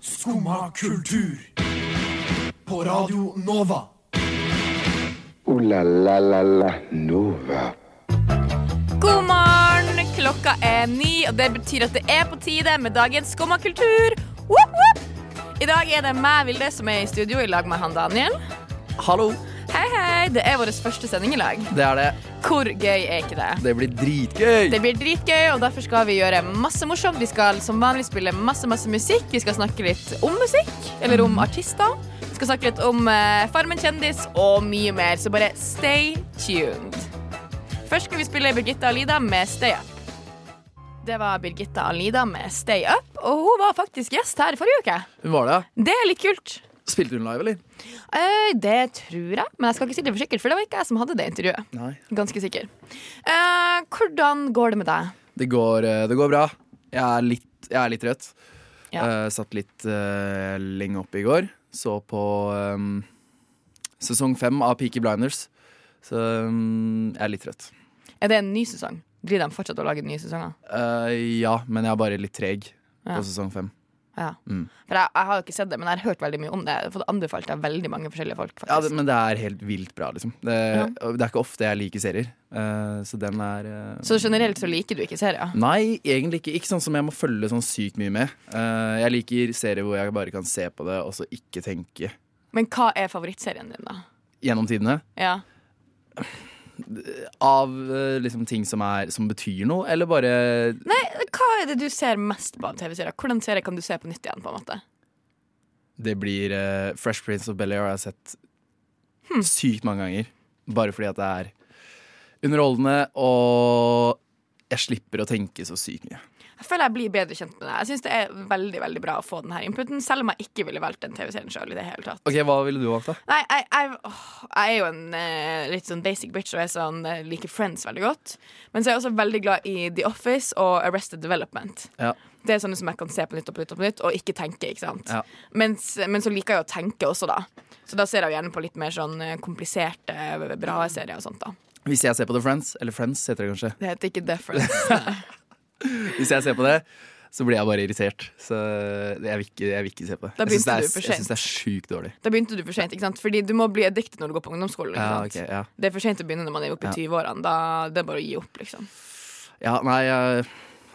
Skumma kultur. På Radio Nova. Ooh la la la la Nova. God morgen! Klokka er ni, og det betyr at det er på tide med dagens skummakultur. Woop, woop! I dag er det meg, Vilde, som er i studio i lag med han Daniel. Hallo, Hei, hei! Det er vår første sending i lag. det er det. Hvor gøy er ikke det? Det blir dritgøy. Det blir dritgøy, og derfor skal vi gjøre masse morsomt. Vi skal som vanlig spille masse, masse musikk. Vi skal snakke litt om musikk, eller om artister. Vi skal snakke litt om eh, Farmen kjendis og mye mer, så bare stay tuned. Først skal vi spille Birgitta Alida med Stay Up. Det var Birgitta Alida med Stay Up, og hun var faktisk gjest her forrige uke. Hun var det, ja. Det er litt kult. Spilte hun live, eller? Eh, det tror jeg, men jeg skal ikke si det for sikkert, for det var ikke jeg som hadde det intervjuet. Nei. Ganske sikker. Eh, hvordan går det med deg? Det går, eh, det går bra. Jeg er litt, jeg er litt rødt. Ja. Eh, satt litt eh, lenge oppe i går. Så på ehm, sesong fem av Peaky Blinders. Så ehm, jeg er litt trøtt. Er det en ny sesong? Blir de fortsatt å lage nye sesonger? Eh, ja, men jeg er bare litt treg Ja. på sesong fem. Ja. Mm. For jeg, jeg har jo ikke sett det, men jeg har hørt veldig mye om det. Jeg har fått anbefalt av veldig mange forskjellige folk. Ja, faktisk det, men det er helt vilt bra, liksom. Det, og det er ikke ofte jeg liker serier, eh, så den er eh, Så generelt så liker du ikke serier? Nei, egentlig ikke. Ikke sånn som jeg må følge sånn sykt mye med. Eh, jeg liker serier hvor jeg bare kan se på det og så ikke tenke Men hva er favorittserien din, da? gjennom tidene. Ja. Av eh, liksom ting som, er, som betyr noe, eller bare Nei, hva er det du ser mest på av TV-serier? Hvordan serier kan du se på nytt igjen, på en måte? Det blir eh, Fresh Prince of Belly har jeg sett sykt mange ganger. Bare fordi at det er underholdende, og jeg slipper å tenke så sykt mye. Jeg føler jeg blir bedre kjent med det. Jeg syns det er veldig veldig bra å få denne inputen, selv om jeg ikke ville valgt den TV-serien sjøl i det hele tatt. Ok, Hva ville du valgt, da? Nei, jeg, jeg, åh, jeg er jo en eh, litt sånn basic bitch og jeg er sånn, eh, liker Friends veldig godt. Men så er jeg også veldig glad i The Office og Arrested Development. Ja. Det er sånne som jeg kan se på nytt og på nytt og på nytt, og ikke tenke. ikke sant? Ja. Mens, men så liker jeg å tenke også, da. Så da ser jeg jo gjerne på litt mer sånn eh, kompliserte, eh, bra serier og sånt, da. Hvis jeg ser på The Friends, eller Friends heter det kanskje, Det heter ikke The Friends. Hvis jeg ser på det, så blir jeg bare irritert. Så jeg vil ikke, jeg vil ikke se på det. Da Jeg syns det begynte er, du for jeg syns det er sjukt dårlig. Da begynte du for sent, ikke sant? Fordi du må bli addicted når du går på ungdomsskolen. ikke Ja, sant? ok, ja. Det er for sent å begynne når man er oppe Ja. i 20-årene. Da Det er bare å gi opp, liksom. Ja, nei, jeg,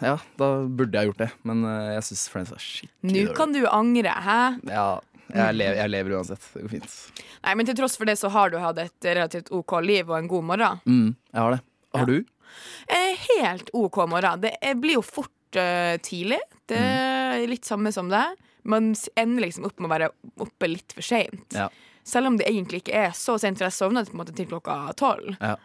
ja, da burde jeg gjort det. Men eh, jeg syns Friends er skikkelig Nå dårlig. kan du angre, hæ? Ja, jeg lever, jeg lever uansett. Det går fint. Nei, men til tross for det så har du hatt et relativt OK liv og en god morgen. Mm, jeg har det. Har du? Eh, helt OK morgen. Det eh, blir jo fort eh, tidlig. Det er litt samme som det. Man s- ender liksom opp med å være oppe litt for seint. Ja. Selv om det egentlig ikke er så sent, for jeg sovnet på en måte til klokka tolv. Ja.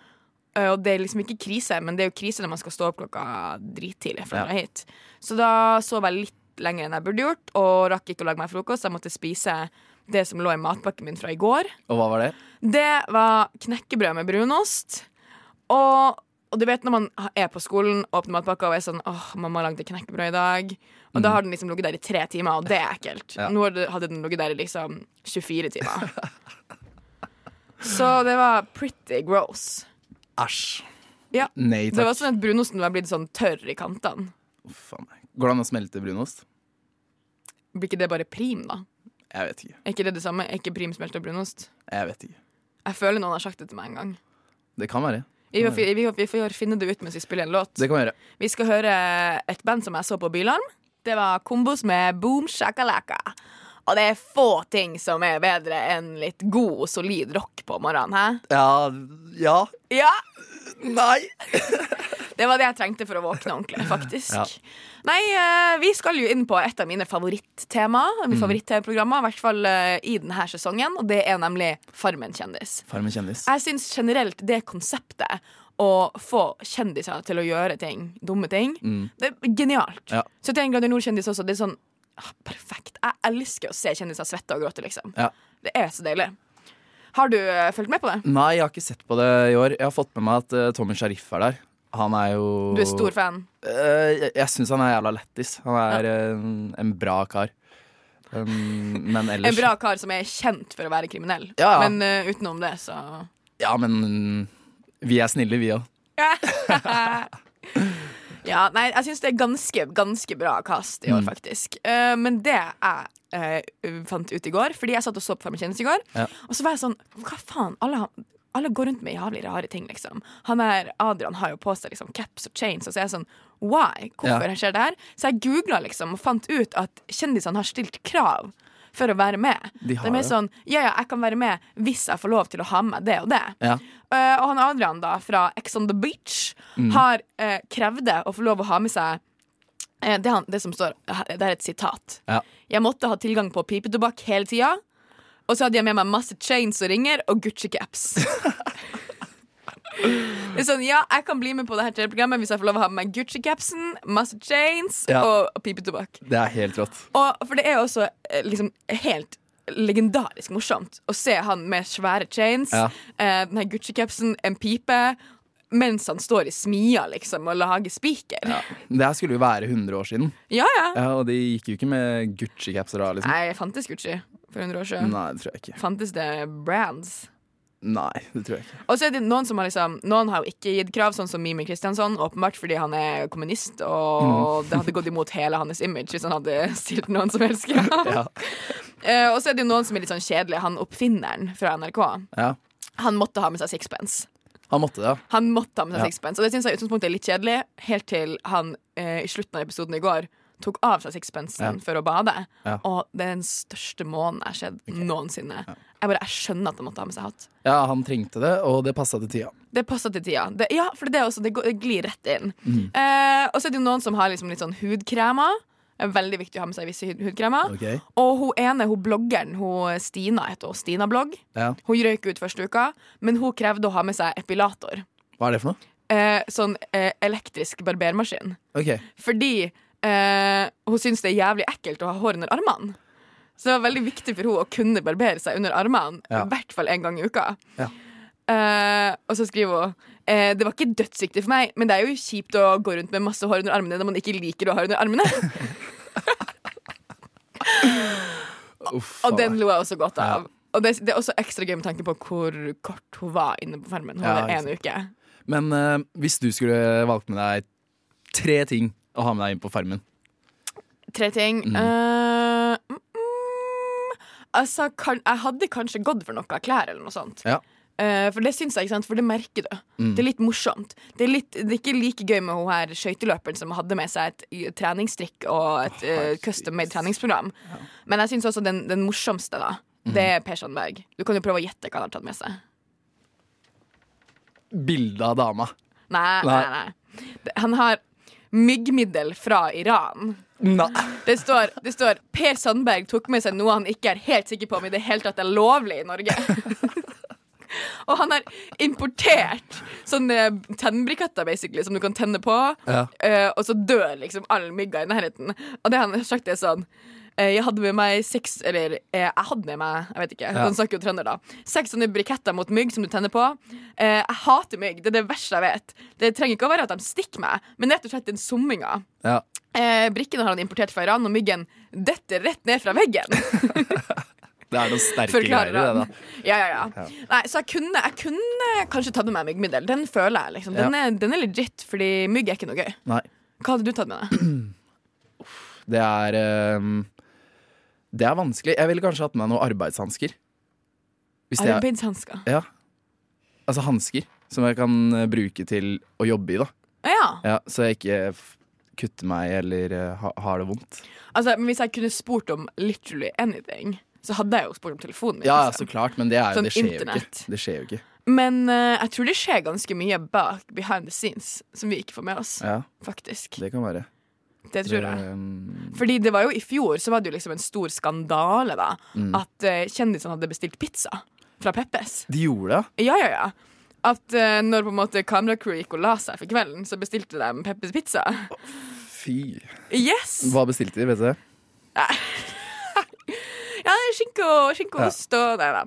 Eh, Og det er liksom ikke krise, men det er jo krise når man skal stå opp klokka drittidlig. fra Ja. da hit. Så da sov jeg litt lenger enn jeg burde gjort, og rakk ikke å lage meg frokost. Jeg måtte spise det som lå i matpakken min fra i går. Og hva var det? Det var knekkebrød med brunost. Og, og du vet når man er på skolen, åpner matpakka og er sånn åh, mamma lagde knekkebrød i dag. Og da har den liksom ligget der i tre timer, og det er ekkelt. Ja. Nå har det- hadde den ligget der i liksom 24 timer. Så det var pretty gross. Æsj. Ja. Nei Det var takk. sånn at brunosten var blitt sånn tørr i kantene. Å, faen. Går det an å smelte brunost? Blir ikke det bare prim, da? Jeg vet ikke. Er ikke det det samme? Er ikke prim smelta brunost? Jeg vet ikke. Jeg føler noen har sagt det til meg en gang. Det kan være. Vi, får- vi, vi, vi får finne det ut mens vi spiller en låt. Det kan være. Vi skal høre et band som jeg så på Bylarm. Det var Kombos med Boom Shakalaka. Og det er få ting som er bedre enn litt god, solid rock på morgenen. Hæ? Ja. Ja. Ja! Nei. Det var det jeg trengte for å våkne ordentlig, faktisk. Ja. Nei, eh, vi skal jo inn på et av mine favorittemaer, mine favoritt-TV-programmer, i hvert fall eh, i denne sesongen, og det er nemlig Farmen kjendis. Farmen kjendis. Jeg syns generelt det konseptet å få kjendiser til å gjøre ting, dumme ting, det er genialt. Mm. Ja. 71 grader nord-kjendis også. Det er sånn ah, perfekt. Jeg elsker å se kjendiser svette og gråte, liksom. Ja. Det er så deilig. Har du eh, fulgt med på det? Nei, jeg har ikke sett på det i år. Jeg har fått med meg at eh, Tommy Sharif er der. Han er jo Du er stor fan. Eh, jeg jeg syns han er jævla lættis. Han er en, en bra kar. Um, men ellers En bra kar som er kjent for å være kriminell. Ja, ja. Men eh, utenom det, så mm, Ja, men vi er snille, vi òg. Ja, nei, jeg syns det er ganske, ganske bra kast i år, Mm. faktisk. Eh, men det jeg eh, fant ut i går, fordi jeg satt og så på Fem kjendiser i går, Ja. og så var jeg sånn Hva faen? Alle, har- alle går rundt med jævlig rare ting, liksom. Han der Adrian har jo på seg liksom caps og chains, og så er jeg sånn Why? Hvorfor Ja. skjer det her? Så jeg googla liksom og fant ut at kjendisene har stilt krav. For å være med. De har er mer det. sånn Ja, ja, jeg kan være med hvis jeg får lov til å ha med meg det og det. Ja. Eh, og han Adrian da, fra Ex on the Beach Mm. har uh, krevde å få lov å ha med seg eh, det, han, det som står Det er et sitat. Ja. Jeg måtte ha tilgang på pipetobakk hele tida. Og så hadde jeg med meg masse chains og ringer og Gucci-caps. Det er sånn, ja, Jeg kan bli med på det her TV-programmet hvis jeg får lov å ha med meg Gucci-capsen, masse chains Ja. og, og pipetobakk. Det er helt rått. Og, for det er jo også eh, liksom, helt legendarisk morsomt å se han med svære chains, Ja. eh, den her Gucci-capsen, en pipe, mens han står i smia liksom, og lager spiker. Ja. Det her skulle jo være 100 år siden, ja, ja, og de gikk jo ikke med Gucci-capser da, liksom. Nei, fantes Gucci for 100 år siden? Nei, det tror jeg ikke. Fantes det brands? Nei, det tror jeg ikke. Og så er det noen som har liksom Noen har jo ikke gitt krav, sånn som Mimi Kristiansson. Åpenbart fordi han er kommunist, og Mm. det hadde gått imot hele hans image hvis han hadde stilt noen som helst krav. Ja. Eh, og så er det jo noen som er litt sånn kjedelige. Han oppfinneren fra NRK, Ja. han måtte ha med seg sixpence. Han måtte det, ja. Han måtte ha med seg Ja. sixpence Og det syns jeg i utgangspunktet er litt kjedelig, helt til han eh, i slutten av episoden i går tok av seg sixpencen Ja. for å bade. Ja. Og det er den største månen jeg har sett noensinne. Jeg bare, jeg skjønner at han måtte ha med seg hatt. ja. Han trengte det, og det passa til tida. Det passer til tida. Det, ja, for det, er også, det, går, det glir rett inn. Mm. Eh, og så er det jo noen som har liksom litt sånn hudkremer. Det er veldig viktig å ha med seg visse hud- hudkremer. Ok. Og hun ene, hun bloggeren, hun Stina heter hun, Stina Blogg, Ja. hun røyk ut første uka, men hun krevde å ha med seg epilator. Hva er det for noe? Eh, sånn eh, elektrisk barbermaskin. Ok. Fordi eh, hun syns det er jævlig ekkelt å ha hår under armene. Så det var veldig viktig for henne å kunne barbere seg under armene. Ja. I hvert fall én gang i uka. Ja. Eh, og så skriver hun eh, Det var ikke dødsviktig for meg, men det er jo kjipt å gå rundt med masse hår under armene når man ikke liker å ha hår under armene. Uff, og den faen. lo jeg også godt Ja. av. Og det, det er også ekstra gøy med tanke på hvor kort hun var inne på farmen. Hun Ja, hadde ikke en uke. Men eh, hvis du skulle valgt med deg tre ting å ha med deg inn på Farmen Tre ting. Mm. Eh, mm, mm, altså, kan, jeg hadde kanskje gått for noe klær eller noe sånt. Ja. Mm. Eh, for det syns jeg, ikke sant? for det merker du. Det er litt morsomt. Det er, litt, det er ikke like gøy med hun her skøyteløperen som hadde med seg et y- treningsstrikk og et eh, herregud. custom made treningsprogram. Men jeg syns også den, den morsomste, da, Mm. det er Per Sandberg. Du kan jo prøve å gjette hva han har tatt med seg. Bilde av dama. Nei, nei, Nei. nei. Det- Han har myggmiddel fra Iran. Nei. Det står, det står Per Sandberg tok med seg noe han ikke er helt sikker på om i det hele tatt er lovlig i Norge. Og han har importert sånne tennbriketter basically, som du kan tenne på, Ja. eh, og så dør liksom all mygga i nærheten. Og det han har sagt, er sånn eh, Jeg hadde med meg seks Eller eh, jeg hadde med meg, jeg vet ikke, han snakker jo trønder, da. Seks sånne briketter mot mygg som du tenner på. Eh, jeg hater mygg, det er det verste jeg vet. Det trenger ikke å være at de stikker meg, men rett og slett den summinga. Ja. Eh, brikkene har han importert fra Iran, og myggen detter rett ned fra veggen. Det er noen sterke greier i Forklarer det, han. da. Ja, ja, ja. Nei, så jeg kunne, jeg kunne kanskje tatt med meg myggmiddel. Den føler jeg, liksom. Den, er, den er legit, fordi mygg er ikke noe gøy. Nei. Hva hadde du tatt med deg? Det er ehm, Det er vanskelig. Jeg ville kanskje hatt med meg noen arbeidshansker. Hvis det er Arbeidshansker. Ja. Altså hansker som jeg kan eh, bruke til å jobbe i, da. Å Ja. Ja, så jeg ikke f- kutter meg eller eh, ha, har det vondt. Altså, men hvis jeg kunne spurt om literally anything, så hadde jeg jo spurt om telefonen min. Ja, ja, liksom. så klart, men det, er, Sånn jo- det skjer jo internett. ikke. Det skjer jo ikke. Men eh, jeg tror det skjer ganske mye bak behind the scenes som vi ikke får med oss. Ja, Faktisk. det kan være. Det tror jeg. Ehm, Fordi det var jo i fjor så var det jo liksom en stor skandale da Mm. at eh, kjendisene hadde bestilt pizza fra Peppes. de gjorde det, Ja, ja, ja. At eh, når på en måte kameracrew gikk og la seg for kvelden, så bestilte de Peppes pizza. fy. Yes! Hva bestilte de, vet du? Ja, det er skinke og, skinke og Ja. ost og Nei da.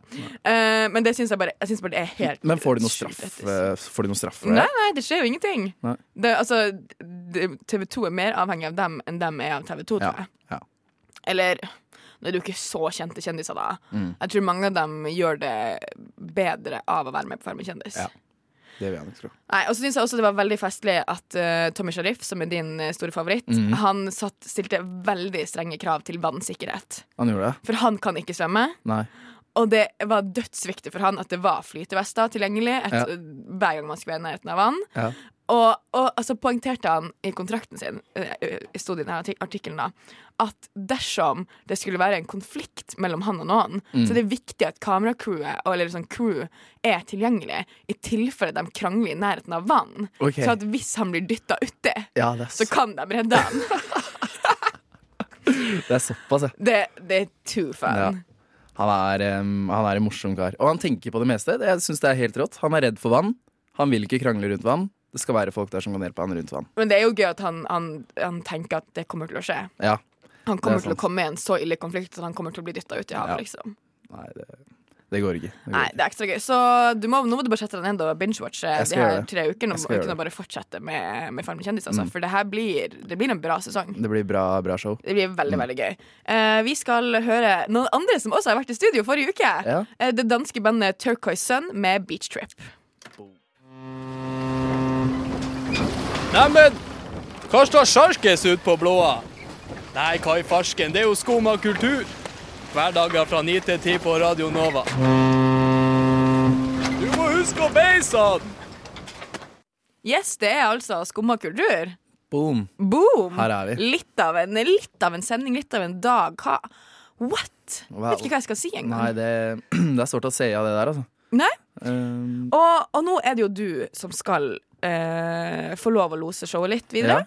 Eh, men det syns jeg bare Jeg synes bare det er helt Men får de noe sjukt straff, lettest. eh, får de noe straff for Nei, det? nei, det skjer jo ingenting. Nei. Det, altså, det, TV 2 er mer avhengig av dem enn dem er av TV 2, tror Ja, jeg. ja. Eller nå er det jo ikke så kjente kjendiser, Mm. da. Jeg tror mange av dem gjør det bedre av å være med på Farmen kjendis. Ja. Det vil jeg nok tro. Nei, og så synes jeg også det var veldig festlig at eh, Tommy Sharif, som er din eh, store favoritt, Mhm. han satt, stilte veldig strenge krav til vannsikkerhet. Han gjorde det? For han kan ikke svømme, Nei. og det var dødsviktig for han at det var flytevester tilgjengelig et, Ja. hver gang man skulle være i nærheten av vann. Ja. Og, og altså, poengterte han i kontrakten sin, eh, eh, stod det i denne artik- artikkelen, da, at dersom det skulle være en konflikt mellom han og noen, så Mm. det er viktig at kameracrewet og- eller sånn crew er tilgjengelig i tilfelle de krangler i nærheten av vann. Ok. Så at hvis han blir dytta uti, Ja, det er, så så, kan de redde han. det er såpass, ja. Det, det er too fun. Ja. Han er, em, han er en morsom kar. Og han tenker på det meste. Det, jeg synes det er helt rått. Han er redd for vann. Han vil ikke krangle rundt vann. Det skal være folk der som kan hjelpe han rundt vann. Men det er jo gøy at han, han, han tenker at det kommer til å skje. Ja. Han Det kommer er til å sant. komme i en så ille konflikt at han kommer til å bli dytta ut i havet. Ja. liksom Nei, det, det går ikke. Det går Nei, ikke. det er ekstra gøy. Så du må, nå må du bare sette deg ned og binge-watche Jeg de skal her gjøre det. tre ukene Jeg og, skal gjøre uten å det. Mm. bare fortsette med, med Farmen kjendis. Altså. For det her blir, det blir en bra sesong. det blir bra, bra show. Det blir veldig Mm. veldig gøy. Eh, vi skal høre noen andre som også har vært i studio forrige uke. Ja. Eh, det danske bandet Turquoise Sun med Beach Trip. Neimen, hva står sjarkes ut på blåa? Nei, hva i farsken, det er jo skum av kultur. Hverdager fra 9 til 10 på Radio Nova. Du må huske å beise han! Yes, det er altså Skumma kultur. Boom. Boom! Her er vi. Litt av en, litt av en sending, litt av en dag. Hva? What? Wow. Vet ikke hva jeg skal si engang. Nei, det, det er sårt å se av det der, altså. Nei? Em, Og, og nå er det jo du som skal eh, få lov å lose showet litt videre.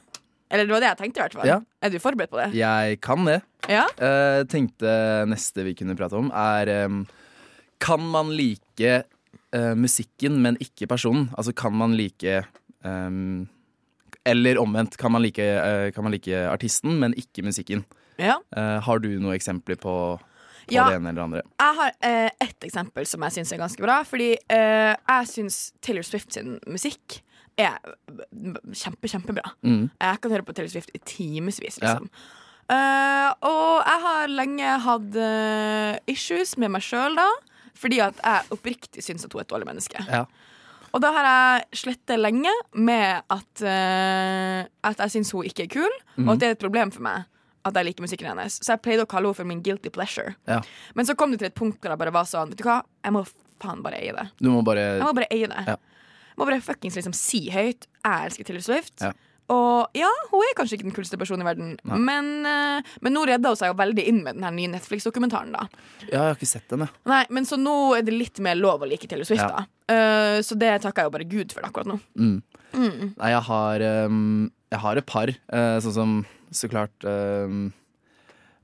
Eller det var det jeg tenkte i hvert fall. Ja. Er du forberedt på det? jeg kan det. Ja? Jeg Eh, tenkte neste vi kunne prate om, er em, Kan man like eh, musikken, men ikke personen? Altså, kan man like em, Eller omvendt, kan man like, eh, kan man like artisten, men ikke musikken? Ja. Eh, har du noen eksempler på, på Ja. det ene eller det andre? Jeg har eh, ett eksempel som jeg syns er ganske bra. Fordi eh, jeg syns Taylor Swift sin musikk er kjempe, kjempebra. Mm. Jeg kan høre på Taylor Swift i timevis, liksom. Eh, og jeg har lenge hatt eh, issues med meg sjøl, da. Fordi at jeg oppriktig syns at hun er et dårlig menneske. Ja. Og da har jeg slettet lenge med at, eh, at jeg syns hun ikke er kul, Mhm. og at det er et problem for meg. At jeg liker musikken hennes Så jeg pleide å kalle henne for min guilty pleasure. Ja. Men så kom det til et punkt hvor jeg bare var sånn Vet du hva, jeg må faen bare eie det. Du må Jeg bare må bare eie det. Ja. Jeg må bare fuckings liksom si høyt jeg elsker Taylor Swift. Ja. Og ja, hun er kanskje ikke den kuleste personen i verden, men, eh, men nå redda hun seg jo veldig inn med den her nye Netflix-dokumentaren. da Ja, jeg har ikke sett den, jeg. Nei, men Så nå er det litt mer lov å like Taylor Swift, Ja. da. Eh, så det takker jeg jo bare Gud for akkurat nå. Nei, jeg har, ehm, jeg har et par, eh, sånn som så klart ehm,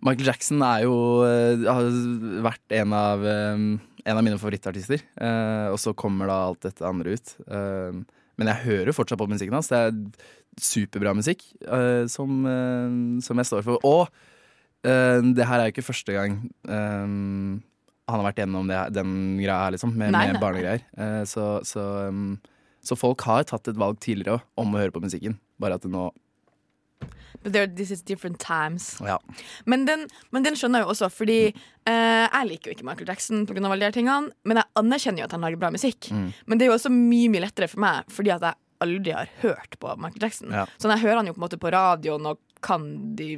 Michael Jackson er jo eh, har vært en av, ehm, en av mine favorittartister. eh, og så kommer da alt dette andre ut. Ehm, men jeg hører fortsatt på musikken hans. Det er superbra musikk eh, som, eh, som jeg står for. Og eh, det her er jo ikke første gang ehm, han har vært gjennom det, her- den greia her, liksom, med, Nei, nei, nei. med barnegreier. Eh, så så ehm, så folk har tatt et valg tidligere også om å høre på musikken. Bare at det nå But there, this is different times. Ja. Men den, men den skjønner jeg jo også, fordi eh, jeg liker jo ikke Michael Jackson, på grunn av alle de her tingene men jeg anerkjenner jo at han lager bra musikk. Mm. Men det er jo også mye mye lettere for meg, fordi at jeg aldri har hørt på Michael Jackson. Ja. Så jeg hører han jo på en måte på radioen og kan de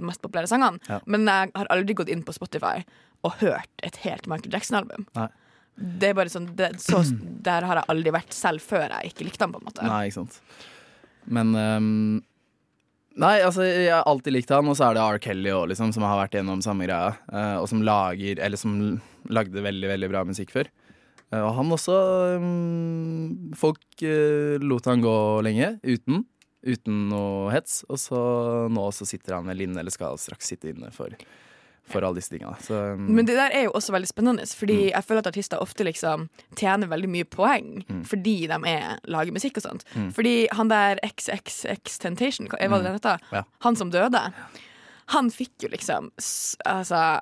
mest populære sangene, Ja. men jeg har aldri gått inn på Spotify og hørt et helt Michael Jackson-album. Nei. Det er bare sånn, det, så, Der har jeg aldri vært selv før jeg ikke likte han på en måte. Nei, ikke sant. Men ehm, Nei, altså, jeg har alltid likt han, og så er det R. Kelly også, liksom, som har vært gjennom samme greia. eh, og som lager Eller som lagde veldig, veldig bra musikk før. Eh, og han også ehm, Folk eh, lot han gå lenge uten. Uten noe hets. Og så nå så sitter han vel inne, eller skal straks sitte inne for, for alle disse tinga. Så ehm, Men det der er jo også veldig spennende, fordi Mm. jeg føler at artister ofte liksom tjener veldig mye poeng Mm. fordi de er, lager musikk og sånt. Fordi han der XXX Tentation, hva var det den heter? Ja. Han som døde, han fikk jo liksom s- altså,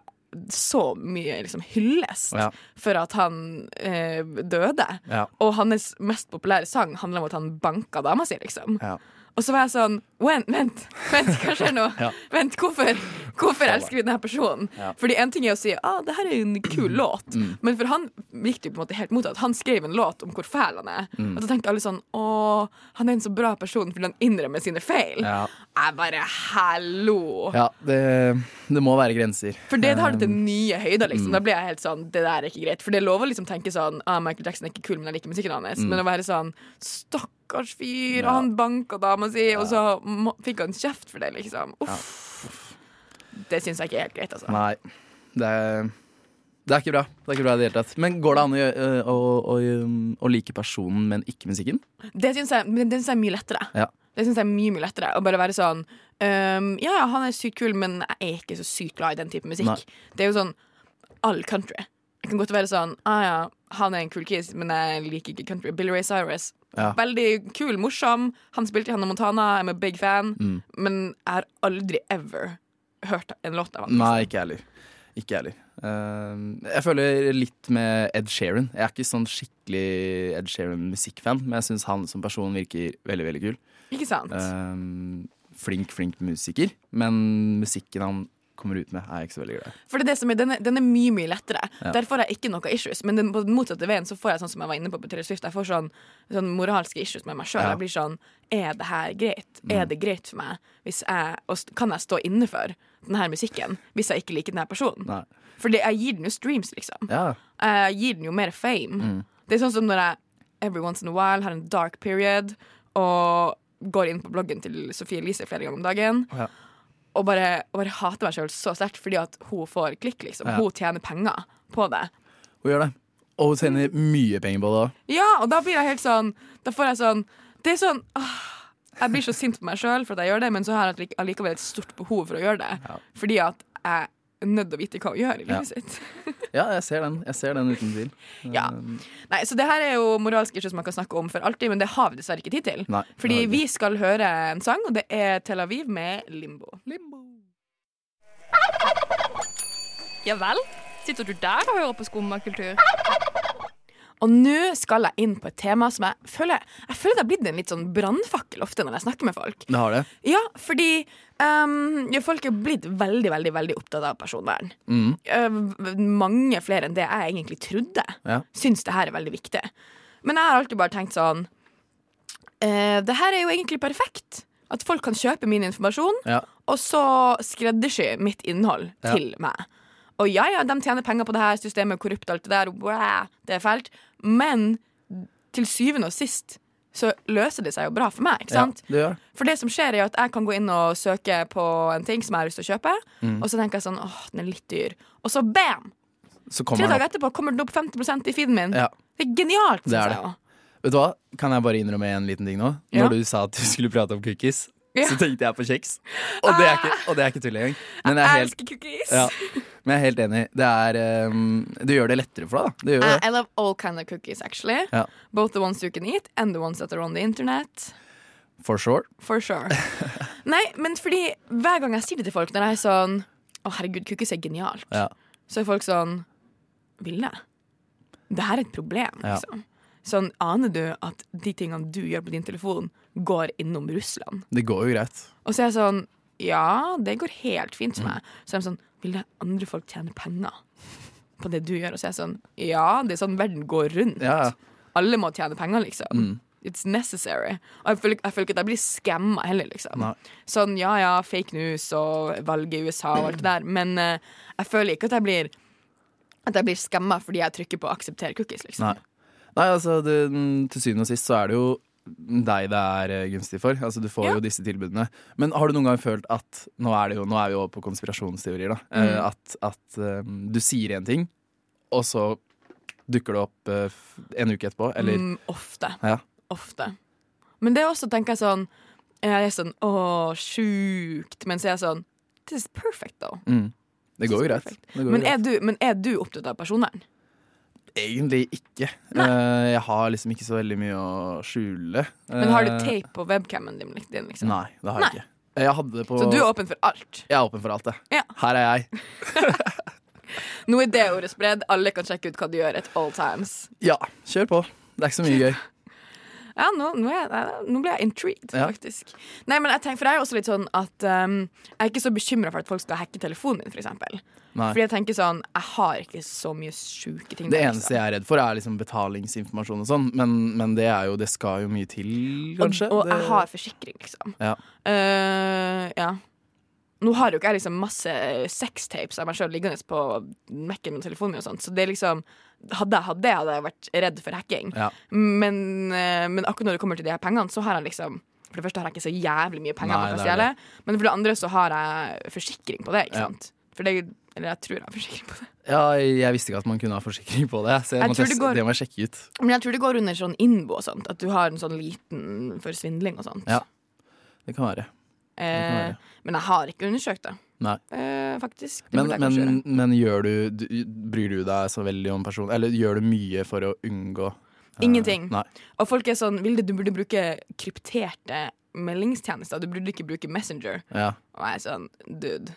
så mye liksom hyllest Ja. for at han eh, døde. Ja. Og hans mest populære sang handler om at han banka dama si, liksom. ja. Og så var jeg sånn Vent, vent, vent hva skjer nå? Ja. Vent, hvorfor? Hvorfor elsker vi denne personen? Ja. Mm. Fordi en ting er å si ah, det her er jo en kul låt, men for han gikk det jo på en måte helt motsatt. Han skrev en låt om hvor fæl han er. Mm. Og så tenkte alle sånn Å, han er en så bra person fordi han innrømmer sine feil. Ja. Jeg bare hallo! Ja, det, det må være grenser. For det tar Um, det til nye høyder, liksom. mm. Da blir jeg helt sånn Det der er ikke greit. For det er lov å liksom tenke sånn ah, Michael Jackson er ikke kul, men jeg liker musikken hans. Men å være sånn Stakkars fyr, og Mm. Ja. han banka dama si, og så må, fikk han kjeft for det, liksom. Uff. Det syns jeg ikke er helt greit, altså. Nei, det er, det er ikke bra. Det er ikke bra i det hele tatt. Men går det an å, gjø- øh, å, å, øhm, å like personen, men ikke musikken? Det syns jeg, men det synes jeg er mye lettere. Ja. Det synes jeg er mye, mye lettere Å bare være sånn ehm, Ja, ja, han er sykt kul, men jeg er ikke så sykt glad i den type musikk. Nei. Det er jo sånn all country. Jeg kan godt være sånn ah, ja, Han er en kul kis, men jeg liker ikke country. Billy Ray Cyrus. Ja. Veldig kul, morsom. Han spilte i Hannah Montana. I'm a big fan. Mm. Men jeg har aldri ever hørt en låt av han. Nei, ikke jeg heller. Ikke jeg heller. Øhm, jeg føler litt med Ed Sheeran. Jeg er ikke sånn skikkelig Ed Sheeran-musikkfan, men jeg syns han som person virker veldig, veldig kul. Ikke sant? Eh, Øhm, flink, flink musiker. Men musikken han kommer ut med, er jeg ikke så veldig glad i. For det er det som er, den, er, den er mye, mye lettere. Der får jeg ikke noe issues. Men den, på den motsatte veien så får jeg sånn som jeg var inne på på Taylor Swift. Jeg får sånn, sånn moralske issues med meg sjøl. Ja. Mm. Jeg blir sånn Er det her greit? Er det greit for meg? Hvis jeg, og st- kan jeg stå inne for denne musikken hvis jeg ikke liker denne personen? Nei. For jeg gir den jo streams, liksom. Ja. Jeg gir den jo mer fame. Mm. Det er sånn som når jeg every once in a while har en dark period og går inn på bloggen til Sofie Elise flere ganger om dagen Ja. og, bare, og bare hater meg sjøl så sterkt fordi at hun får klikk, liksom. Ja. Hun tjener penger på det. Hun gjør det. Og hun tjener mye penger på det òg. Ja, og da blir jeg helt sånn Da får jeg sånn Det er sånn ah, Jeg blir så sint på meg sjøl for at jeg gjør det, men så har jeg allike- allikevel et stort behov for å gjøre det. Fordi at jeg er nødt til å vite hva hun gjør i Ja. livet sitt. Ja, jeg ser den. Jeg ser den uten tvil. Ja. Eh, Nei, så det her er jo moralske issues man kan snakke om for alltid, men det har vi dessverre ikke tid til. Nei, det Fordi har vi vi skal høre en sang, og det er Tel Aviv med Limbo. Ja vel? Sitter du der og hører på skummakultur? Og nå skal jeg inn på et tema som jeg føler Jeg føler det har blitt en litt sånn brannfakkel ofte når jeg snakker med folk. Det har det. Ja, fordi ehm, ja, folk er blitt veldig, veldig veldig opptatt av personvern. Mm. Eh, v- mange flere enn det jeg egentlig trodde, Ja. syns det her er veldig viktig. Men jeg har alltid bare tenkt sånn eh, Det her er jo egentlig perfekt. At folk kan kjøpe min informasjon, Ja. og så skreddersy mitt innhold Ja. til meg. Og ja, ja, de tjener penger på det her, systemet er korrupt, alt det der, wow, det er fælt. Men til syvende og sist så løser det seg jo bra for meg, ikke Ja, sant? det gjør det. For det som skjer er jo at jeg kan gå inn og søke på en ting som jeg har lyst til å kjøpe, og så tenker jeg sånn åh, den er litt dyr. Og så bam! Så Tre Mm. kommer han dager opp. etterpå kommer den opp 50 i feeden min. Ja. Det er genialt. Det er synes det. jeg jo. Vet du hva? Kan jeg bare innrømme en liten ting nå? Ja. Når du sa at du skulle prate om cookies, Ja. så tenkte jeg på kjeks. Og det er ikke, og det er ikke tull engang. Men jeg er Jeg helt, elsker cookies. ja. Men jeg er helt enig. Det er ehm, Det gjør det lettere for deg, da. Det gjør I, det. I love all kind of cookies, actually. Ja. Both the ones you can eat, and the ones that are on the internet. For sure. For sure. Nei, men fordi hver gang jeg sier det til folk, når jeg er sånn Å, herregud, cookies er genialt, Ja. så er folk sånn Ville? Det her er et problem, Ja. liksom. Sånn, aner du at de tingene du gjør på din telefon, går innom Russland? Det går jo greit. Og så er jeg sånn Ja, det går helt fint for meg. Så er de sånn Vil det andre folk tjene penger på det du gjør? Og så er jeg sånn Ja, det er sånn verden går rundt. Ja, ja. Alle må tjene penger, liksom. Mm. It's necessary. Og jeg føler, jeg føler ikke at jeg blir skamma heller, liksom. Nei. Sånn ja ja, fake news og valget i USA og alt det der, men eh, jeg føler ikke at jeg blir At jeg blir skamma fordi jeg trykker på 'aksepter cookies', liksom. Nei. Nei, altså det, mm, Til syvende og sist så er det jo deg det er eh, gunstig for. Altså Du får Ja. jo disse tilbudene. Men har du noen gang følt at Nå er, det jo, nå er vi jo over på konspirasjonsteorier. da eh, Mm. At, at eh, du sier en ting, og så dukker det opp eh, f- en uke etterpå. Eller Mm, ofte. Ja. Ofte. Men det er også, tenker jeg sånn Jeg er sånn Å, sjukt. Men så er jeg sånn This is perfect, though. Det går jo greit. Perfekt. Det går jo Men greit. er, du, men er du opptatt av personvern? Egentlig ikke. Eh, jeg har liksom ikke så veldig mye å skjule. Men har du Eh, tape på webcamen din? din, Liksom? Nei, det har jeg Nei. ikke. Jeg hadde det på Så du er åpen for alt? Jeg er åpen for alt, jeg. Ja. Her er jeg. Nå er det ordet spredd. Alle kan sjekke ut hva du gjør at all times. Ja, kjør på. Det er ikke så mye gøy. Ja, nå, nå, er jeg, nå ble jeg intrigued, Ja. faktisk. Nei, men jeg tenker, for jeg er også litt sånn at um, Jeg er ikke så bekymra for at folk skal hacke telefonen min, for eksempel. Nei. Fordi jeg tenker sånn Jeg har ikke så mye sjuke ting. Det der, eneste jeg er redd for, er liksom betalingsinformasjon og sånn, men, men det, er jo, det skal jo mye til, kanskje. liksom. Og, og Det- jeg har forsikring, liksom. Ja. Eh, ja. Nå har jo ikke jeg liksom masse sextapes av meg sjøl liggende på Mac-en min og telefonen min, og sånt, så det er liksom Hadde jeg hatt det, hadde jeg vært redd for hacking. Ja. Men, eh, men akkurat når det kommer til de her pengene, så har jeg liksom For det første har jeg ikke så jævlig mye penger Nei, man kan det er stjele, men for det andre så har jeg forsikring på det, ikke Ja. sant? For det, eller jeg tror jeg har forsikring på det. ja, jeg visste ikke at man kunne ha forsikring på det. Så jeg Jeg må tror det teste, går- det må jeg sjekke ut. Men jeg tror det går under sånn innbo og sånt, at du har en sånn liten for svindling og sånt. Ja, Det kan være. være. eh, men jeg har ikke undersøkt det, Nei. eh, faktisk. Det Men, burde jeg kanskje men, gjøre. men gjør du, du, bryr du deg så veldig om personen Eller gjør du mye for å unngå eh, Ingenting. Nei. Og folk er sånn Vilde, du burde bruke krypterte meldingstjenester. Du burde ikke bruke Messenger. Ja. Og jeg er sånn, dude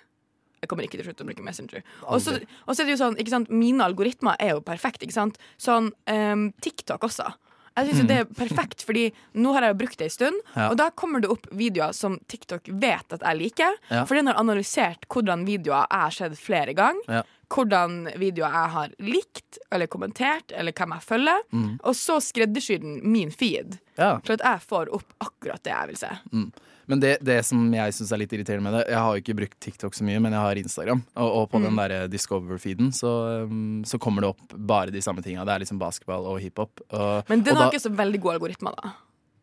jeg kommer ikke til å slutte å bruke Messenger. Og så og så er det jo sånn, ikke sant, Mine algoritmer er jo perfekte. ikke sant? Sånn ehm, TikTok også. Jeg synes jo det er perfekt, fordi nå har jeg jo brukt det en stund. Mm. Ja. Og da kommer det opp videoer som TikTok vet at jeg liker. Ja. For den har analysert hvordan videoer jeg har sett flere ganger. Ja. Hvordan videoer jeg har likt eller kommentert, eller hvem jeg følger. Mm. Og så skreddersyr den min feed. ja. Til at jeg får opp akkurat det jeg vil se. Mm. Men det, det som jeg syns er litt irriterende med det Jeg har jo ikke brukt TikTok så mye, men jeg har Instagram. Og, og på Mm. den der Discover-feeden så, um, så kommer det opp bare de samme tinga. Det er liksom basketball og hiphop. Og, Men den og har da- ikke så veldig gode algoritmer, da.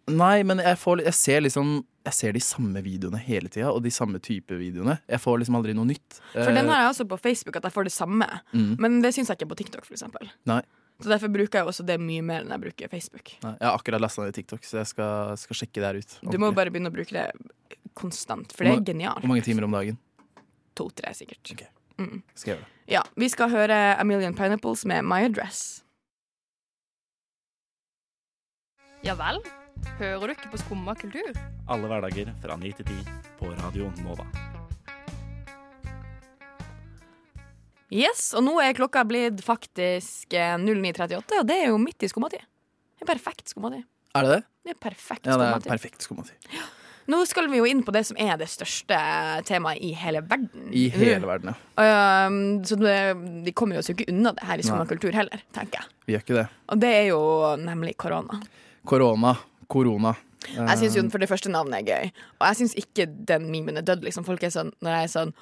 Nei, men jeg, får, jeg ser liksom Jeg ser de samme videoene hele tida, og de samme type videoene. Jeg får liksom aldri noe nytt. Eh, For den har jeg også på Facebook, at jeg får det samme. Men det syns jeg ikke på TikTok, for eksempel. Mm. Nei. Så derfor bruker jeg også det mye mer enn jeg bruker Facebook. Nei, jeg har akkurat lasta ned TikTok, så jeg skal, skal sjekke det her ut. Du må ordentlig. bare begynne å bruke det konstant, for det er Hvor- Hvor genialt. mange timer om dagen To-tre, sikkert. skal jeg gjøre det? Ja, vi skal høre A Million Pineapples med My Address. Ja vel? Hører du ikke på Skumma kultur? Alle hverdager fra 9 til 10 på Radio Nova. Yes, og nå er klokka blitt faktisk eh, 09.38, og det er jo midt i skummatid. Det er perfekt skummatid. Er det det? Det er perfekt Ja, det er skummatid. perfekt skummatid. Nå skal vi jo inn på det som er det største eh, temaet i hele verden. I hele verden, ja. Um, så det, de kommer jo oss jo ikke unna det her i Skumma kultur heller, tenker jeg. Vi gjør ikke det. Og det er jo nemlig korona. Korona. Korona. Eh, Jeg syns jo for det første navnet er gøy, og jeg syns ikke den memen er dødd. Liksom. Folk er sånn, når jeg er sånn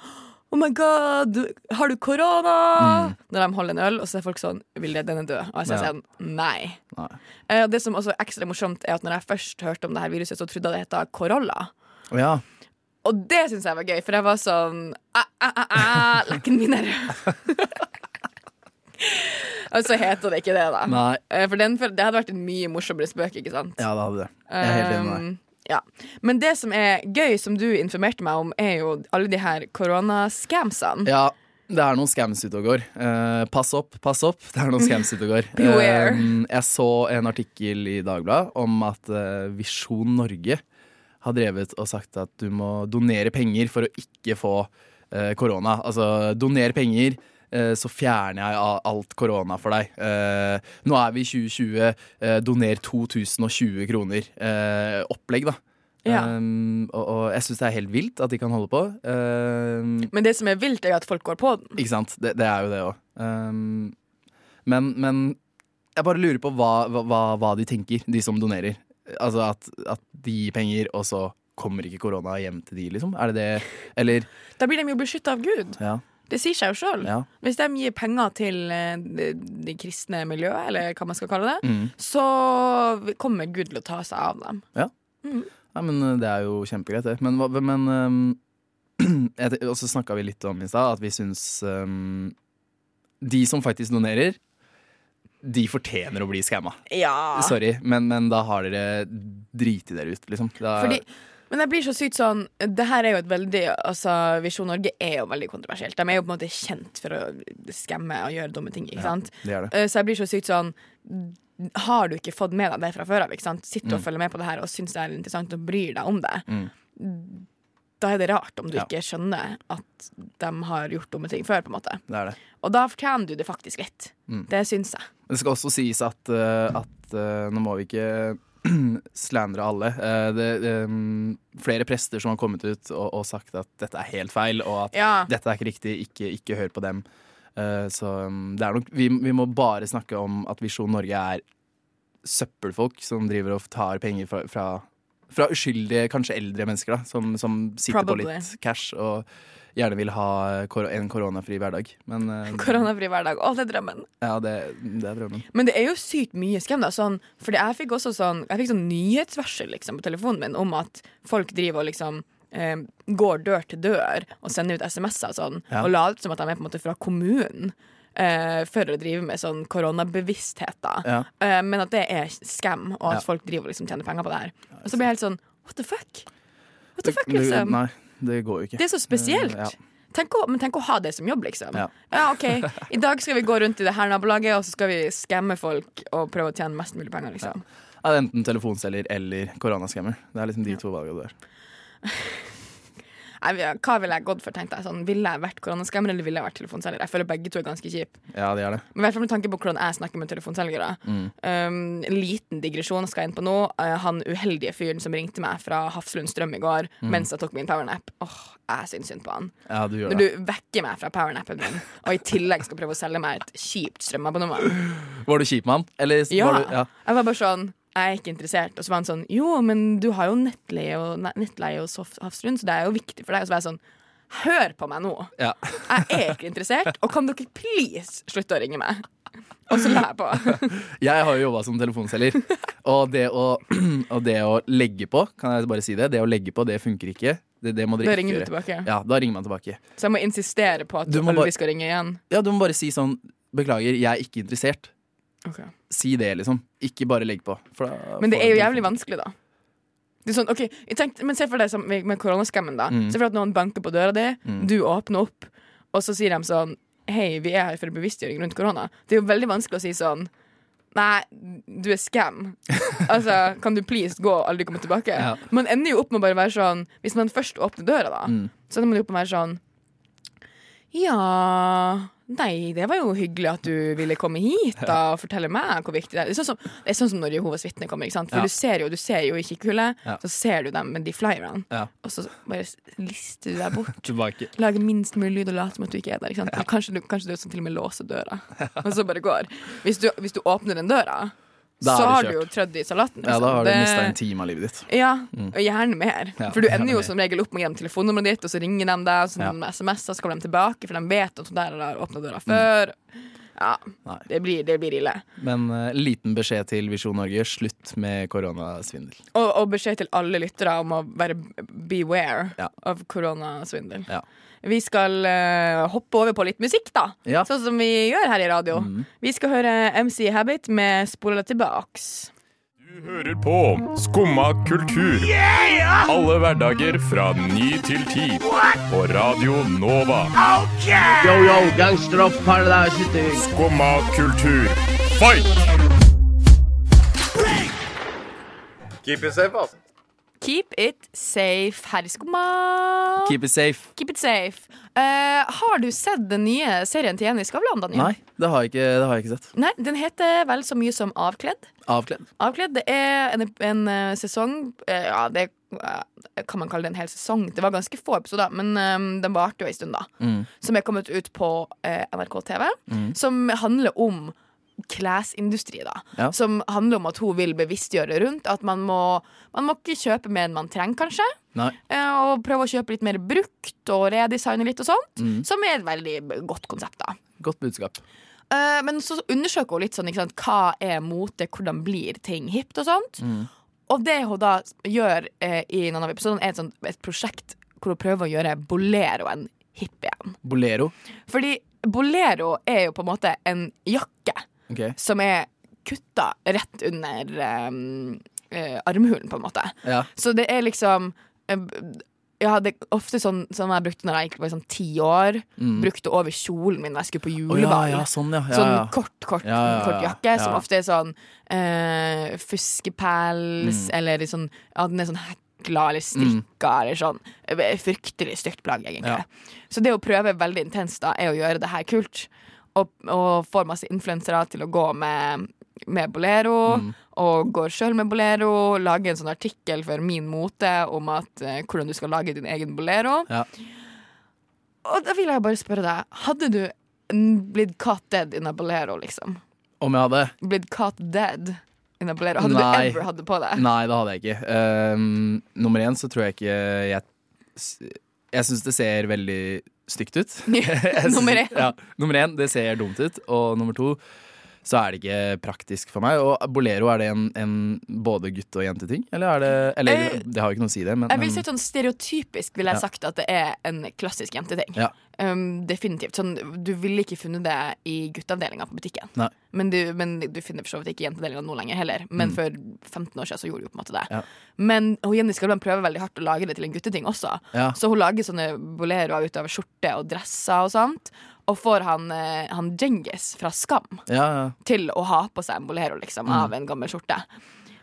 Oh my god, du, har du korona? Når de holder en øl, og så er folk sånn Vilde, den er død. Og jeg sier Ja. sånn Nei. Nei. Eh, og det som også er ekstra morsomt, er at når jeg først hørte om det her viruset, så trodde jeg det het korolla. Ja. Og det syns jeg var gøy, for jeg var sånn «Æ, æ, æ, æ, Lekken ah, min er rød. Og så heter det ikke det, da. Nei. Eh, For den, for det hadde vært en mye morsommere spøk, ikke sant? Ja, det hadde det. Jeg er helt enig med deg. Um, ja. Men det som er gøy, som du informerte meg om, er jo alle de her koronascamsene. Ja, det er noen scams ute og går. Eh, pass opp, pass opp. Det er noen scams ute og går. Beware. Eh, jeg så en artikkel i Dagbladet om at eh, Visjon Norge har drevet og sagt at du må donere penger for å ikke få eh, korona. Altså donere penger. eh, Så fjerner jeg a- alt korona for deg. Eh, nå er vi i 2020. eh, doner 2020 kroner. Eh, opplegg, da. Ja. Um, og, og jeg syns det er helt vilt at de kan holde på. Um, Men det som er vilt, er jo at folk går på den. ikke sant? Det, det er jo det òg. Um, men, men jeg bare lurer på hva, hva- hva, hva de tenker, de som donerer. Altså at, at de gir penger, og så kommer ikke korona hjem til de, liksom? Er det det? Eller Da blir de jo beskytta av Gud. Ja. Det sier seg jo sjøl. ja. Hvis de gir penger til eh, det det kristne miljøet, eller hva man skal kalle det, Mm. så kommer Gud til å ta seg av dem. Nei, men uh, det er jo kjempegreit, det. Men, hva- men um, jeg te- Og så snakka vi litt om i stad at vi syns um, De som faktisk donerer, de fortjener å bli skamma. Ja. Sorry, men, men da har dere driti dere ut, liksom. Da, Fordi, men jeg blir så sykt sånn Det her er jo et veldig altså, Visjon Norge er jo veldig kontroversielt. De er jo på en måte kjent for å skamme og gjøre dumme ting. Ikke sant? det er det. Eh, Så jeg blir så sykt sånn Har du ikke fått med deg det fra før av? ikke sant? Sitter og følger med på det her og syns det er interessant og bryr deg om det. Mm. Da er det rart om du Ja. ikke skjønner at de har gjort dumme ting før. på en måte det, er det. Og da fortjener du det faktisk litt. Mm. Det syns jeg. Men Det skal også sies at, eh, at eh, nå må vi ikke slandre alle. Eh, det, ehm, flere prester som har kommet ut og, og sagt at dette er helt feil, og at Ja. dette er ikke riktig, ikke, ikke hør på dem. Eh, så mm, det er nok vi, vi må bare snakke om at Visjon Norge er søppelfolk som driver og tar penger fra, fra, fra uskyldige, kanskje eldre mennesker, da, som, som sitter på Probably. litt cash og gjerne vil ha kor en koronafri hverdag. Men eh, Koronafri hverdag. Å, det er drømmen. ja, det, det er drømmen. Men det er jo sykt mye skam, da. Sånn, fordi jeg fikk også sånn Jeg fikk sånn nyhetsvarsel liksom, på telefonen min om at folk driver og liksom eh, går dør til dør og sender ut SMS-er og sånn, Ja. og later som at de er på en måte fra kommunen. eh, for å drive med sånn koronabevissthet, da. Ja. Eh, men at det er skam, og at Ja. folk driver og liksom tjener penger på det her. Og så blir jeg helt sånn What the fuck? What the fuck, Det- det- liksom? Nei, det går jo ikke. Det er så spesielt. Eh, Ja. Tenk å, men tenk å ha det som jobb, liksom. Ja. Ja. ok, I dag skal vi gå rundt i det her nabolaget og så skal vi skamme folk og prøve å tjene mest mulig penger. liksom Ja, det er enten telefonselger eller koronaskammer. Det er liksom de to valgene du har. Nei, vi- Hva ville jeg gått for? tenkte jeg sånn, Ville jeg vært koronaskammer eller ville jeg vært telefonselger? Jeg føler begge to er ganske kjipe. Ja, de er det. Men i hvert fall med tanke på hvordan jeg snakker med telefonselgere. Mm. Um, en liten digresjon skal jeg inn på nå. Eh, han uheldige fyren som ringte meg fra Hafslund Strøm i går Mm. mens jeg tok min powernap. Åh, Jeg syns synd på han. Ja, du gjør Når det. du vekker meg fra powernappen min, og i tillegg skal prøve å selge meg et kjipt strømabonnement. Var du kjip med han? Eller s- Ja. var du, ja. Jeg var bare sånn jeg er ikke interessert. Og så var han sånn Jo, men du har jo nettleie og, ne- nettleie og soft- Hafslund, så det er jo viktig for deg. Og så var jeg sånn Hør på meg nå! Ja. Jeg er ikke interessert. Og kan dere please slutte å ringe meg? Og så la jeg på. Jeg har jo jobba som telefonselger, og det, å, og det å legge på, kan jeg bare si det, det å legge på, det funker ikke. Det, det må dere Da ikke ringer du gjøre. tilbake. Ja, da ringer man tilbake. Så jeg må insistere på at Du du må bare- aldri skal ringe igjen. Ja, du må bare si sånn Beklager, jeg er ikke interessert. Si det, liksom. Ikke bare legg på. For da Men det får er du- jo jævlig vanskelig, da. Det er sånn, ok, jeg tenkte, men Se for deg som med koronaskammen. da Mm. Se for deg at noen banker på døra di, du åpner opp, og så sier de sånn Hei, vi er her for bevisstgjøring rundt korona. Det er jo veldig vanskelig å si sånn Nei, du er scam. altså, kan du please gå og aldri komme tilbake? Ja. Man ender jo opp med å bare være sånn Hvis man først åpner døra, da, Mm. så ender man jo opp med å være sånn ja Nei, det var jo hyggelig at du ville komme hit da, og fortelle meg hvor viktig det er. Det er sånn som, det er sånn som når Jehovas vitner kommer. ikke sant? For Ja. du, ser jo, du ser jo i kikkhullet, Ja. så ser du dem med de flyerne. Ja. Og så bare s- lister du deg bort. Tilbake. Lager minst mulig lyd og later som at du ikke er der. ikke sant? Kanskje, du, kanskje du som til og med låser døra, og så bare går. Hvis du, hvis du åpner den døra, Da er så det har kjørt. du jo trødd i salaten. Ja, da har du liksom. mista en time av livet ditt. Ja, og gjerne mer. Mm. Ja, for du gjerne ender jo mer. som regel opp med å gi dem telefonnummeret ditt, og så ringer de deg, og så Ja. Mm. sender de SMS-er, så kommer de tilbake, for de vet at hun der har åpna døra før. Ja, Nei. det blir, det blir ille. Men eh, liten beskjed til Visjon Norge. Slutt med koronasvindel. Og, og beskjed til alle lyttere om å være beware Ja. av koronasvindel. Ja. Vi skal eh, hoppe over på litt musikk, da. Ja. Mm. Sånn som vi gjør her i radio. Vi skal høre MC Habit med 'Spola tilbaks'. hører på Skumma kultur. Alle hverdager fra ny til ti. På Radio Nova. Skumma kultur. Fight! Keep it safe, herr Skumma. Keep it safe. Keep it safe. Eh, har du sett den nye serien til Jenny Skavlan, Daniel? Nei, det har jeg ikke, det har jeg ikke sett. Nei, Den heter vel så mye som Avkledd. Avkledd. Avkledd det er en, en eh, sesong eh, Ja, det eh, kan man kalle det en hel sesong. Det var ganske få episoder, men eh, den varte jo en stund, da. Mm. Som er kommet ut på eh, NRK TV. Som handler om klesindustri, da. Ja. Som handler om at hun vil bevisstgjøre rundt at man må, man må ikke kjøpe mer enn man trenger, kanskje. Nei. Eh, Og prøve å kjøpe litt mer brukt og redesigne litt og sånt. Som er et veldig godt konsept, da. Godt budskap. Eh, Men så undersøker hun litt sånn ikke sant, hva er mote, hvordan blir ting hipt og sånt. Og det hun da gjør eh, i noen av episodene, er et, sånt, et prosjekt hvor hun prøver å gjøre boleroen hipp igjen. Bolero. Fordi bolero er jo på en måte en jakke Ok. som er kutta rett under eh, eh, armhulen, på en måte. Ja. Så det er liksom eh, b- Jeg hadde ofte sånn som jeg brukte når jeg gikk på sånn ti år. Brukte over kjolen min når jeg skulle på Mm. Å, ja, juleball. ja, sånn, ja. ja, Sånn ja. kort, kort, Ja, ja, ja. kort jakke, som Ja. ofte er sånn eh, fuskepels, Mm. eller i sånn, ja, den er sånn hekla eller strikka, eller sånn. Eh, Fryktelig stygt plagg, egentlig. Ja. Så det å prøve veldig intenst da, er å gjøre det her kult, og, og får masse influensere til å gå med med bolero, Mm. og går sjøl med bolero. Lager en sånn artikkel for Min Mote om at, eh, hvordan du skal lage din egen bolero. Ja. Og da vil jeg bare spørre deg, hadde du n- blitt caught dead in a bolero, liksom? Om jeg hadde? Blitt caught dead in a bolero? Hadde Nei. du ever hatt det på deg? Nei, det hadde jeg ikke. Ehm, nummer én så tror jeg ikke Jeg, s- jeg syns det ser veldig stygt ut. Jeg synes- Nummer én. Ja, nummer én, det ser dumt ut. Og nummer to, så er det ikke praktisk for meg. Og bolero, er det en, en både gutt- og jenteting? Eller er det Eller Eh, det har jo ikke noe å si, det, men, Jeg vil men- si sånn Stereotypisk ville jeg Mm. Ja. sagt at det er en klassisk jenteting. Ja. Um, definitivt. Sånn, du ville ikke funnet det i gutteavdelinga på butikken. Nei. Men du, men du finner for så vidt ikke jenteavdelinga nå lenger heller. Men for 15 år siden så gjorde du på en måte det. Mm. Ja. Men og Jenny Skavlan prøver veldig hardt å lage det til en gutteting også. Ja. Så hun lager sånne boleroer ut av skjorte og dresser og sånt. Og får han, eh, han Djengis fra Skam ja, ja. til å ha på seg en bolero liksom, av en gammel skjorte.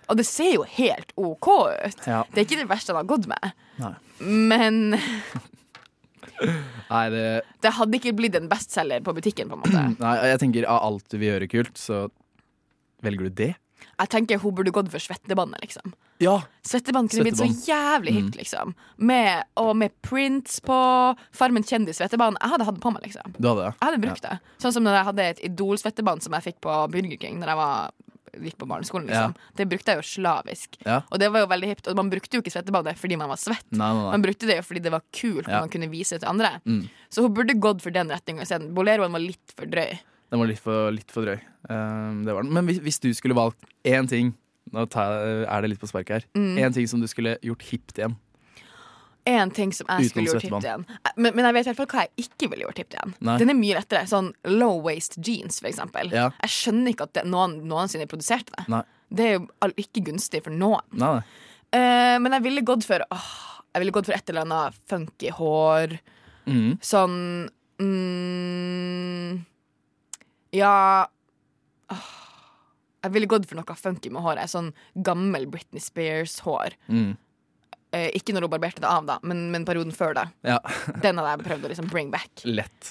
Og det ser jo helt OK ut. Ja. Det er ikke det verste han har gått med. Nei. Men Nei, det, det hadde ikke blitt en bestselger på butikken. på en måte nei, jeg tenker av alt du vil gjøre kult, så velger du det. Jeg tenker Hun burde gått for svettebåndet. liksom Ja. Svettebånd kunne blitt så jævlig hipt, liksom. Med, og med prints på. Farmen kjendis-svettebånd. Jeg hadde hatt det på meg. liksom Du hadde det? Jeg hadde brukt det. Sånn som når jeg hadde et Idol-svettebånd som jeg fikk på Burger King Når jeg var, gikk på barneskolen. liksom Det brukte jeg jo slavisk. Ja. Og det var jo veldig hipt. Og man brukte jo ikke svettebåndet fordi man var svett. Nei, nei, Man nei. brukte det jo fordi det var kult, Ja. og man kunne vise det til andre. Mm. Så hun burde gått for den retninga isteden. Boleroen var litt for drøy. Den var litt for, litt for drøy. Ehm, det var den. Men hvis, hvis du skulle valgt én ting Nå tar jeg, er det litt på sparket her. Mm. Én ting som du skulle gjort hipt igjen. En ting som jeg Utenom skulle gjort hipt igjen. Men, men jeg vet i hvert fall hva jeg ikke ville gjort hipt igjen. Nei. Den er mye lettere. Sånn low waist jeans, for eksempel. Ja. Jeg skjønner ikke at det, noen noensinne produserte det. Nei. Det er jo all- ikke gunstig for noen. Nei, nei. Eh, men jeg ville gått for åh, Jeg ville gått for et eller annet funky hår. Mhm. Sånn mm, Ja åh, Jeg ville gått for noe funky med håret. Sånn gammel Britney Spears-hår. Mm. Eh, ikke når hun barberte det av, da, men, men perioden før da. Ja, Den hadde jeg prøvd å liksom bring back. lett.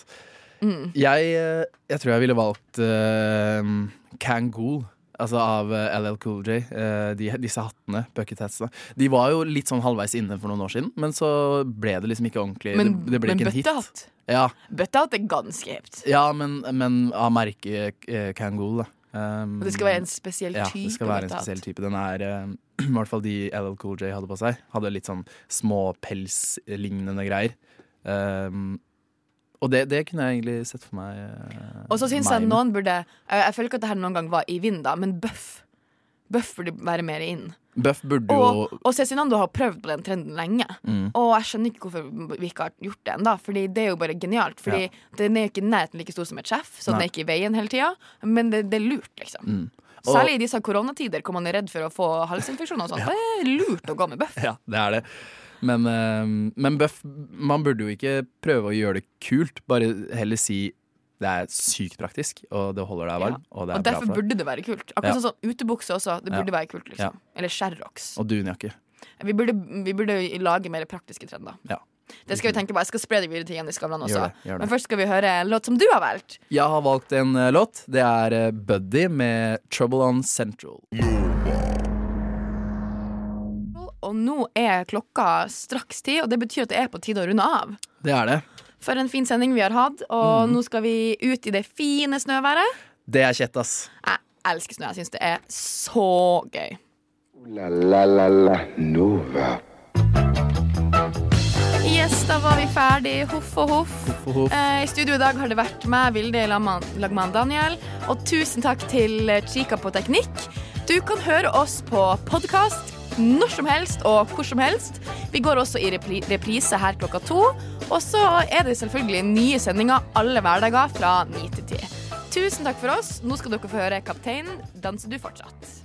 Mm. Jeg, eh, jeg tror jeg ville valgt ehm, Kangool. Altså av eh, LL Cool J. eh, de, disse hattene, bucket hatsene. De var jo litt sånn halvveis inne for noen år siden, men så ble det liksom ikke ordentlig. Men, det, det ble men ikke en hit. bøttehatt Ja, Bøttehatt er ganske hipt. ja men, men av merket eh, Kangool, da. Ehm, Og det skal være en spesiell Ja, type det skal være en bøttehatt. spesiell type. Den er eh, I hvert fall de LL Cool J hadde på seg. Hadde litt sånn småpelslignende greier. Um, og det, det kunne jeg egentlig sett for meg. eh, Og så syns meg jeg med. noen burde Jeg, jeg føler ikke at det her noen gang var i vind, da, men bøff. Bøff burde være mer inn. Buff burde jo Og, og Cezinando har prøvd på den trenden lenge. Mm. Og jeg skjønner ikke hvorfor vi ikke har gjort det ennå, Fordi det er jo bare genialt. Fordi den er jo ikke i nærheten like stor som et sjef, så den Nei. Mm. er ikke i veien hele tida. Men det, det er lurt, liksom. Og- Særlig i disse koronatider hvor man er redd for å få halsinfeksjoner og sånt. Det er lurt å gå med bøff. Ja, det er det. Men, eh, men Buff Man burde jo ikke prøve å gjøre det kult, bare heller si det er sykt praktisk, og det holder deg varm. Og det er Og bra derfor for deg. burde det være kult. Ja. Akkurat sånn som utebukse også. Det Ja. burde være kult, liksom. Eller Sherrox. Og dunjakke. Vi burde, vi burde lage mer praktiske trender. Ja. Det skal vi tenke på. Jeg skal spre det videre til Jenny Skavlan også. Gjør det, gjør det. Men først skal vi høre en låt som du har valgt. Jeg har valgt en eh, låt. Det er eh, Buddy med 'Trouble on Central'. Og nå er klokka straks ti, og det betyr at det er på tide å runde av. Det er det. For en fin sending vi har hatt, Mm. og nå skal vi ut i det fine snøværet. Det er kjett, ass. Jeg elsker snø. Jeg syns det er så gøy. Ooh la la la la Nova. Yes, da var vi ferdig. Hoff og hoff. Ho, ho. Eh, I studio i dag har det vært meg, Vilde Lagman Lagman Daniel. Og tusen takk til eh, Chica på Teknikk. Du kan høre oss på podkast når som helst og hvor som helst. Vi går også i repri reprise her klokka to. Og så er det selvfølgelig nye sendinger alle hverdager fra ni til ti. Tusen takk for oss. Nå skal dere få høre Kapteinen. Danser du fortsatt?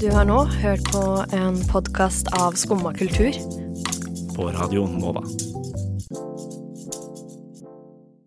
Du har nå hørt på en podkast av Skumma kultur. På Radio Nova.